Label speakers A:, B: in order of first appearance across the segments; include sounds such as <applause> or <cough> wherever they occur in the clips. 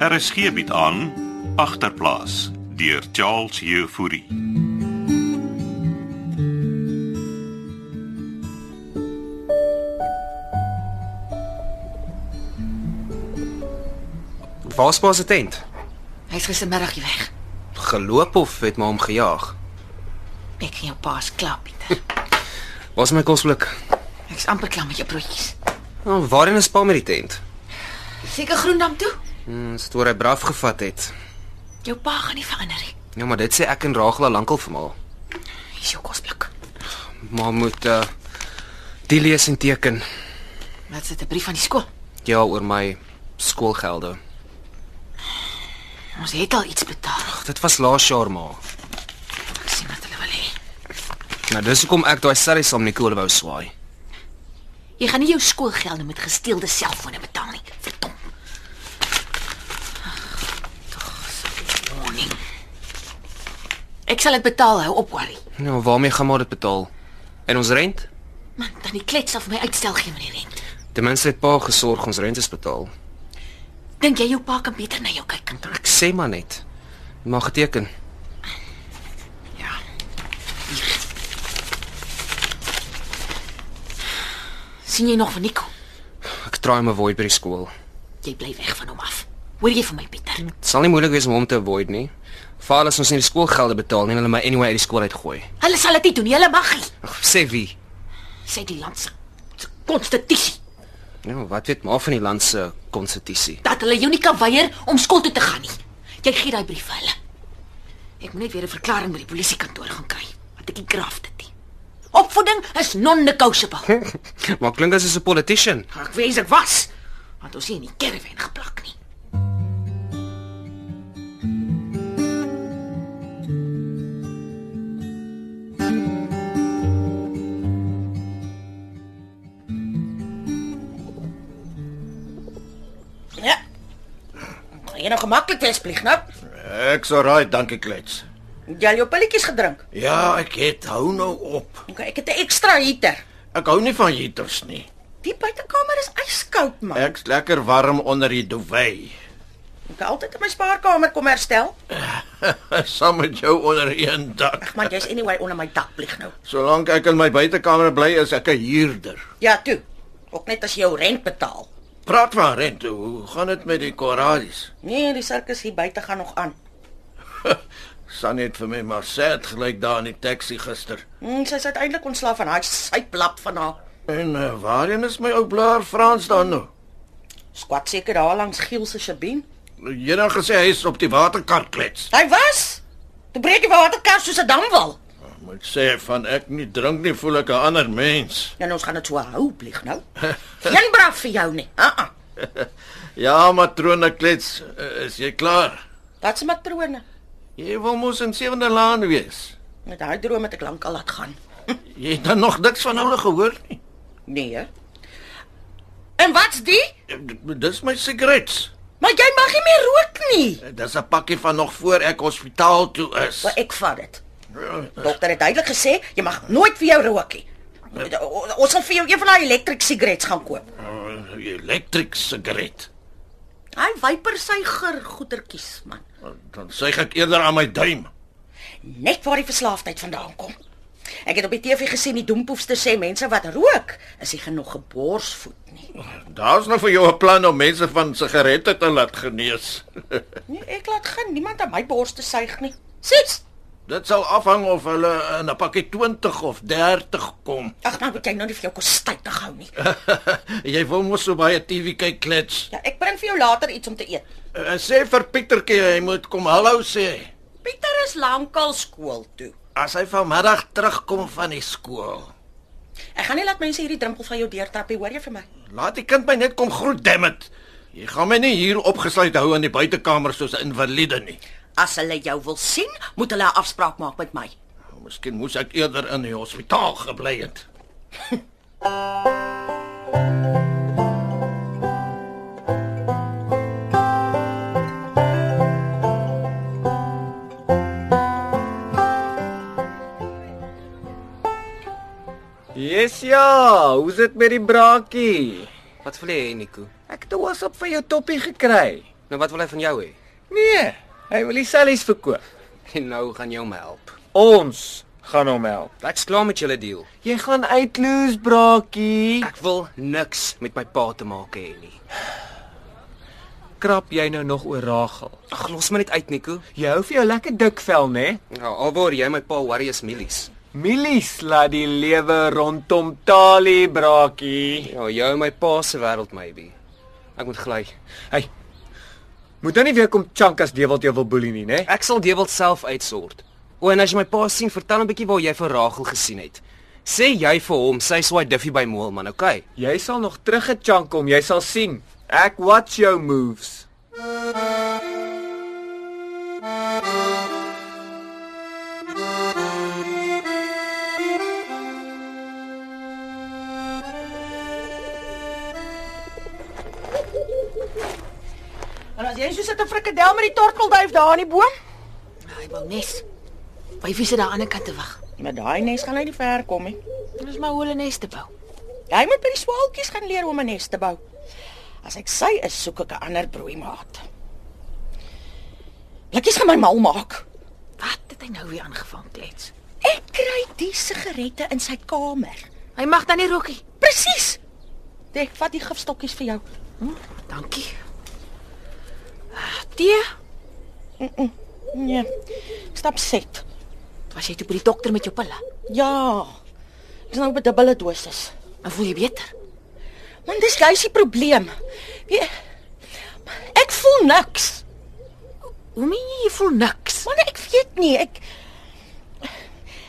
A: RSG bied aan Agterplaas deur Charles Jefouri.
B: Waar's pa se tent?
C: Hy's gistermiddag hier weg.
B: Geloop of het maar hom gejaag?
C: Ek kan jou paas klap, Pieter.
B: Waar's my kosblik?
C: Ek's amper klaar met jou broodjies.
B: Nou, waarheen is pa met die tent?
C: Seker Groendam toe.
B: Hmm, stoor hy braaf gevat het.
C: Jou pa gaan nie verander nie.
B: Ja, maar dit sê ek en Ragla lankal vermaal.
C: Hier's jou kosblik.
B: Maar moet uh die lees en teken
C: Wat sit 'n brief van die skool?
B: ja oor my skoolgelde.
C: Ons het al iets betaal.
B: Ag, dit was laas jaar maar.
C: Ek sien wat hulle wil hê.
B: Nou dis hoekom ek daai serie saam Nicole wou swaai.
C: Jy gaan nie jou skoolgelde met gesteelde selfone betaal nie. Verdom. Tog, morning. Ek sal dit betaal, hou op worry.
B: Nou, waarmee gaan maar dit betaal? En ons rent?
C: Man, dan die klets af my uitstel gee met die rent.
B: Ten minste het pa gesorg ons rent is betaal.
C: Dink jy jou pa kan beter na jou kyk?
B: Ek sê maar net. Maar geteken.
C: Ja. Sien jy nog van Nico?
B: Ek traai my woord by die skool.
C: Jy bly weg van hom af. Hoor jy van my Pieter?
B: Het sal nie moeilik wees om hom te avoid nie. Veral as ons nie die skoolgelde betaal nie en hulle my anyway uit die skool uitgooi.
C: Hulle sal dit nie doen nie. Hulle mag nie.
B: Ag, sê wie?
C: Sê die land se se konstitusie
B: Nou, wat weet maar van die land se konstitusie? <laughs>
C: dat hulle jou nie kan weier om skool toe te gaan nie. Jy gee daai brief vir hulle. Ek moet net weer 'n verklaring by die polisiekantoor gaan kry, want ek graf dit nie. Opvoeding is non-negotiable.
B: maar klink as 'n politician.
C: Ek wens ek was, want ons hier in die kerwen geplak nie.
D: Ja. Gaan jy nou gemaklik wegvlieg nou?
E: Ek's alraai, dankie klets.
D: Jy al jou pilletjies gedrink.
E: Ja, ek het hou nou op.
D: Okay, ek het 'n ekstra heater.
E: Ek hou nie van heaters nie.
D: Die buitekamer is yskoud man.
E: Ek's lekker warm onder die duvet.
D: Ek moet altyd in my spaarkamer kom herstel.
E: Saam met jou onder een dak.
D: Ag man, jy's anyway onder my dak vlieg nou.
E: Solank ek in my buitekamer bly, is ek 'n huurder.
D: Ja, toe. Ook net as jy jou rent betaal.
E: Praat van rente. Hoe gaan dit met die koralies?
D: Nee, die sirkus hier buite gaan nog aan.
E: San het vir my maar sad gelyk daar in die taxi gister.
D: Hm, sy's uiteindelik ontslaaf van haar syplap van haar.
E: En uh, waarheen is my ou blaar Frans dan nou?
D: Squat seker daar langs Giel se Shabine.
E: Jy het nou gesê hy is op die waterkant klets.
D: Hy was. Toe breek die waterkar soos 'n damwal.
E: Moet sê van ek nie drink nie, voel ek 'n ander mens.
D: En Ja, nou ons gaan dit so hou vlieg nou. Geen braaf vir jou nie. Ah ah.
E: Ja, matrone klets, eh, is jy klaar?
D: Wat se matrone?
E: Jy wil mos in Sewende Laan wees.
D: Met daai droom het ek lank al laat gaan.
E: Jy het dan nog niks van hulle gehoor nie.
D: Nee. He? En wat's die?
E: Eh, d- Dis my sigarets.
D: Maar jy mag nie meer rook nie.
E: Eh, Dis 'n pakkie van nog voor ek hospitaal toe is. Eh,
D: Maar ek vat dit. Dokter het duidelik gesê jy mag nooit vir jou rook nie. O- Ons gaan vir jou een van daai electric sigarette gaan koop.
E: Eh, Electric sigaret.
D: Hy wyper sy ger goetertjies man.
E: Eh, Dan suig ek eerder aan my duim.
D: Net waar die verslaafdheid vandaan kom. Ek het op die TV gesien die doempoefster sê mense wat rook is nie genoeg geborsvoed nie.
E: Daar's nou vir jou 'n plan om mense van sigarette te laat genees.
D: Nee, ek laat gaan niemand aan my bors te suig nie. Sits.
E: <laughs> Dit sal afhang of hulle in 'n pakkie 20 of 30 kom.
D: Ag, nou moet jy nou nie vir jou kos tyd te hou nie.
E: <laughs> jy wil mos so baie TV kyk klets.
D: Ja, ek bring vir jou later iets om te eet.
E: Eh, Sê vir Pietertjie hy moet kom hallo sê.
D: Pieter is lankal skool toe.
E: As hy vanmiddag terugkom van die skool.
D: Ek gaan nie laat mense hierdie drempel van jou deurtrappie hoor jy vir my.
E: Laat die kind my net kom groet, dammit. Jy gaan my nie hier opgesluit hou in die buitekamer soos 'n invalide nie.
D: As hulle jou wil sien, moet hulle 'n afspraak maak met my.
E: Nou, Miskien moes ek eerder in die hospitaal gebly het.
F: Yes ja, hoe's dit met die braakie?
B: Wat wil jy hê, Nico?
F: Ek het 'n WhatsApp van jou toppie gekry.
B: Nou wat wil hy van jou hê? <laughs>
F: Nee, hy wil die sellies verkoop.
B: En nou gaan jy hom help.
F: Ons gaan hom help.
B: Ek's klaar met julle deal.
F: Jy gaan uitloos, braakie.
B: Ek wil niks met my pa te maak hê nie.
F: Krap jy nou nog oor Ragel?
B: Ag, los my net uit, Nico.
F: Jy hou vir jou lekker dik vel, né?
B: Ja, alwaar jy my pa worry is milies.
F: Milies laat die lewe rondom Tali, braakie.
B: Ja, jou en my pa se wêreld maybe. Ek moet gly.
F: Hey. Moet dan nie weer kom chunk as Dewald jou wil boelie nie, né?
B: Ek sal Dewald self uitsort. O, en as jy my pa sien, vertel hom 'n bietjie waar jy vir Ragel gesien het. Sê jy vir hom, sy swaai Duffy by Moel man, okay?
F: Jy sal nog teruggechunk kom, jy sal sien. Ek watch jou moves.
D: En as jy so sit 'n frikadel met die tortelduif daar in die boom,
C: Ah, Hy wou nes. Wyfie sit daar aan die ander kant te wag.
D: met daai nes gaan hy nie ver kom nie.
C: Dis maar hoe hulle nes te bou.
D: Hy moet by die swaaltjies gaan leer om 'n nes te bou. As ek sy is, soek ek 'n ander broeimaat. Blikkies gaan my mal maak.
C: Wat het hy nou weer aangevang, klets?
D: Ek kry die sigarette in sy kamer.
C: Hy mag dan nie rookie.
D: Presies. Ek vat die gifstokkies vir jou.
C: Dankie. Ah, Tee,
D: Nee. Stap set.
C: was jy toe by die dokter met jou pille?
D: Ja. Dis nou op 'n dubbele dosis.
C: Maar voel jy beter?
D: Man, dis juis die probleem. Jy- Ek voel niks.
C: Hoe meen jy jy voel niks?
D: Man, ek weet nie. Ek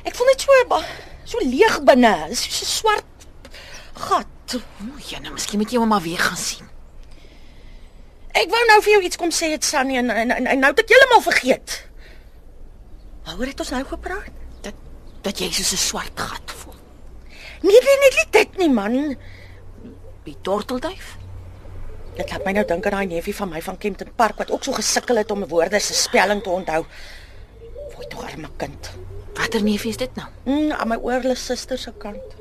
D: ek voel net so ba- so leeg binne, so 'n swart gat.
C: Moet jy nou miskien met jou mamma weer gaan sien.
D: Ek wou nou vir jou iets kom sê, dit Sunny en en, en en nou het ek heeltemal vergeet. Waaroor het ons nou gepraat?
C: Dat dat jy soos 'n swart gat voel.
D: Nee, nee, nee, nie dit nie, man.
C: Die tortelduif?
D: Dit laat my nou dink aan daai neefie van my van Kempton Park wat ook so gesukkel het om woorde se spelling te onthou. Wooi tog arme kind.
C: Watter neefie is dit nou?
D: Mm, aan my oorlede suster se kant.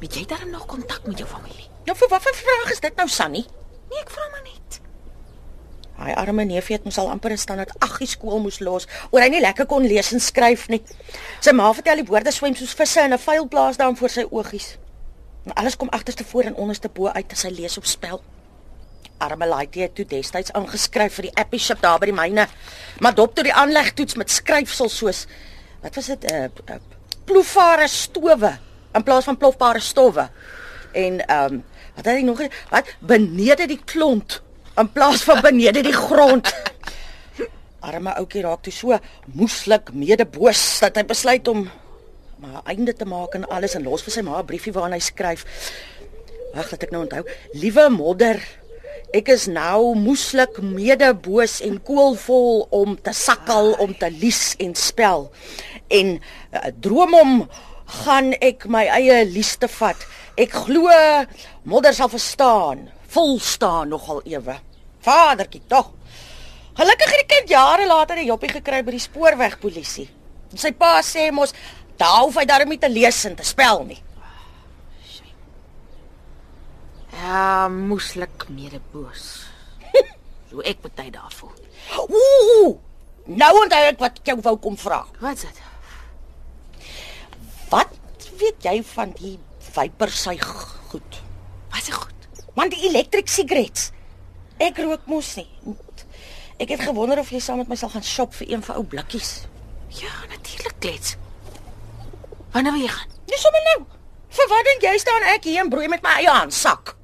C: Het jy darm nog kontak met jou familie?
D: Nou vir wat 'n vraag is dit nou, Sunny?
C: Nee, ek vra maar net.
D: Hy arme neefie het ons al amper in standaard 8 skool moes los oor hy nie lekker kon lees en skryf nie. Sy ma vertel die woorde swem soos visse in 'n vuil plaas daar voor sy oogies. En alles kom agterste voor en onderste bo uit as hy lees of spel. Arme Laitie het toe destyds aangeskryf vir die appie ship daar by die myne, maar dop toe die aanlegtoets met skryfsel soos wat was dit 'n uh, uh, ploefbare stowe in plaas van plofbare stowwe. En ehm um, wat het hy nog ge- wat benede die klont in plaas van benede die grond. Arme ouetjie raak toe so moeslik medeboos dat hy besluit om maar 'n einde te maak aan alles en los vir sy ma 'n briefie waarin hy skryf. Wag, laat ek nou onthou. Liewe modder, ek is nou moeslik medeboos en koelvol om te sakkel, om te lies en spel. En uh, droom om gaan ek my eie lies te vat. Ek glo modder sal verstaan. Vol staan nogal ewe. Vadertjie tog. Gelukkig het die kind jare later 'n joppie gekry by die spoorwegpolisie. Sy pa sê mos, "Daar hoef hy darem nie te lees en te spel nie."
C: Ja, moeslik <laughs> medeboos. so ek party daar voel.
D: Ooh! Nou onthou ek wat ek jou wou kom vra.
C: Wat's dit?
D: Wat weet jy van die vypersuig goed?
C: Wat's dit goed?
D: Man, die electric cigarettes. Ek rook mos nie. Ek het gewonder of jy saam met my sal gaan shop vir een van ou blikkies.
C: Ja, natuurlik klets. Wanneer wil jy gaan?
D: Dis sommer nou. Vir wat dink jy staan ek hier en broei met my eie handsak?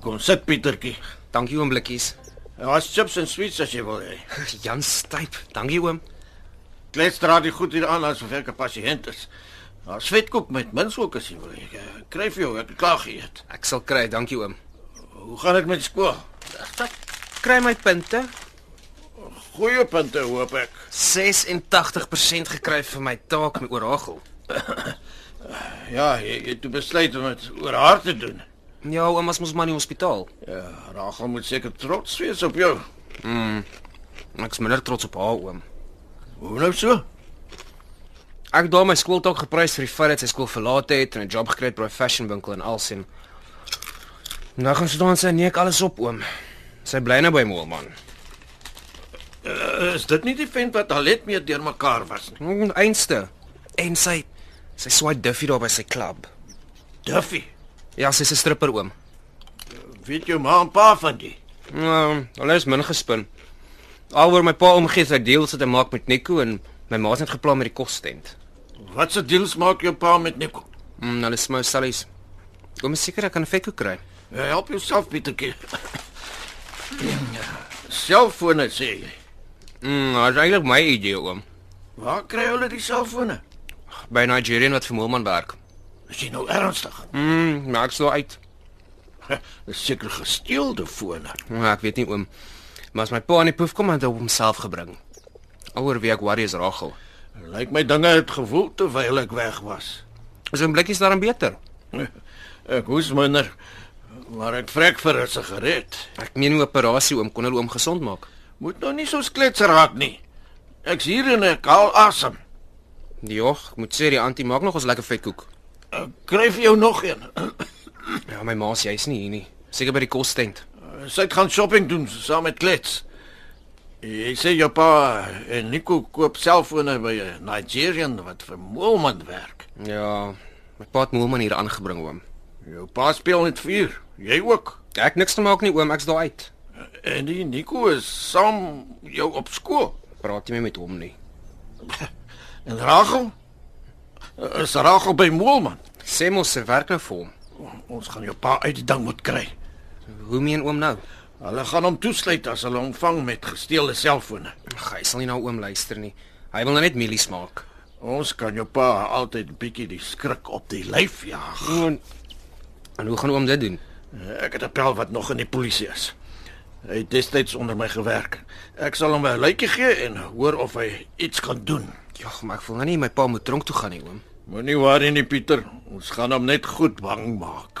E: Kom sit Pietertjie.
B: Dankie oom Blikkies.
E: Daar's chips en sweets as jy wil hê.
B: <laughs> Jan styp. Dankie oom.
E: Klets dra die goed hier aan asof ek 'n pasiënt is. Daar's vetkoek met minsoek as jy wil hê. Ek Kry vir jou, ek het klaar geëet.
B: Ek sal kry, dankie oom.
E: Hoe gaan dit met skool?
B: Kry my punte.
E: Goeie punte hoop ek.
B: 86% gekry vir my taak met Oragel.
E: Ja, jy jy het toe besluit om dit oor haar te doen.
B: Ja, oom was mos maar in die hospitaal.
E: Ja, Rachel moet seker trots wees op jou.
B: Ek's minder trots op haar oom.
E: Hoe nou so?
B: Ek het daar my skooltaak geprys vir die feit dat sy skool verlaat het en 'n job gekry het by 'n fashion winkel in Alsien. Nou gaan sy dan sy nek alles op oom. Sy bly nou by Moel man.
E: Uh, is dit nie die vent wat al net meer deurmekaar was nie?
B: Mm, Einste. En sy sy swaai Duffy daar by sy klub.
E: Duffy.
B: Ja, sy's 'n stripper oom.
E: Weet jou ma en pa van die?
B: Nou, hulle is min gespin. Alhoewel my pa omgee sy deals te maak met Nico en my ma's net geplan met die kosstent.
E: Wat se deals maak jou pa met Nico?
B: Mm, hulle smou sallies. Kom is seker ek kan 'n fekko kry.
E: Ja, help jouself Pietertjie. Selfone sê jy.
B: Mm, dit is eintlik my idee oom.
E: Waar kry hulle die selfone?
B: By 'n Nigerian wat vir Moelman werk.
E: Is jy nou ernstig?
B: Mm, maak so uit.
E: Dis seker gesteelde fone.
B: Ja, ek weet nie oom. Maar as my pa in die poef kom en hom self gebring. Ouer wie ek worry is Rachel.
E: Lyk my dinge het gewoel terwyl ek weg was.
B: Is 'n blikkies daarin beter.
E: Ek hoes minder, maar ek vrek vir 'n sigaret.
B: Ek meen die operasie oom kon hulle oom gesond maak.
E: Moet nou nie so sklets raak nie. Ek's hier en ek haal asem.
B: Jog, ek moet sê die antie maak nog ons lekker vetkoek.
E: Ek kry vir jou nog een. <clears throat>
B: Ja, my ma's jy's nie hier nie. Seker by die kostent.
E: Sy het gaan shopping doen saam met Klets. Jy sê jou pa en Nico koop selfone by 'n Nigerian wat vir Moelman werk.
B: Ja, my pa het Moelman hier aangebring oom.
E: Jou pa speel met vuur, jy ook.
B: Ek niks te maak nie oom, ek's daar uit.
E: En die Nico is saam jou op skool.
B: Praat jy meer met hom nie.
E: En Rachel? Is Rachel by Moelman?
B: Sê mos se werk nou vir hom.
E: Ons gaan jou pa uit die ding moet kry.
B: Hoe meen oom nou?
E: Hulle gaan hom toesluit as hulle hom vang met gesteelde selfone.
B: Ag, hy sal nie na oom luister nie. Hy wil nou net mielies maak.
E: Ons kan jou pa altyd 'n bietjie die skrik op die lyf jaag.
B: En, en hoe gaan oom dit doen?
E: Ek het 'n pel wat nog in die polisie is. Hy het destyds onder my gewerk. Ek sal hom 'n luitjie gee en hoor of hy iets kan doen.
B: Ja, maar ek wil nou nie my pa moet dronk toe gaan nie, oom.
E: Moenie worry nie, Pieter. Ons gaan hom net goed bang maak.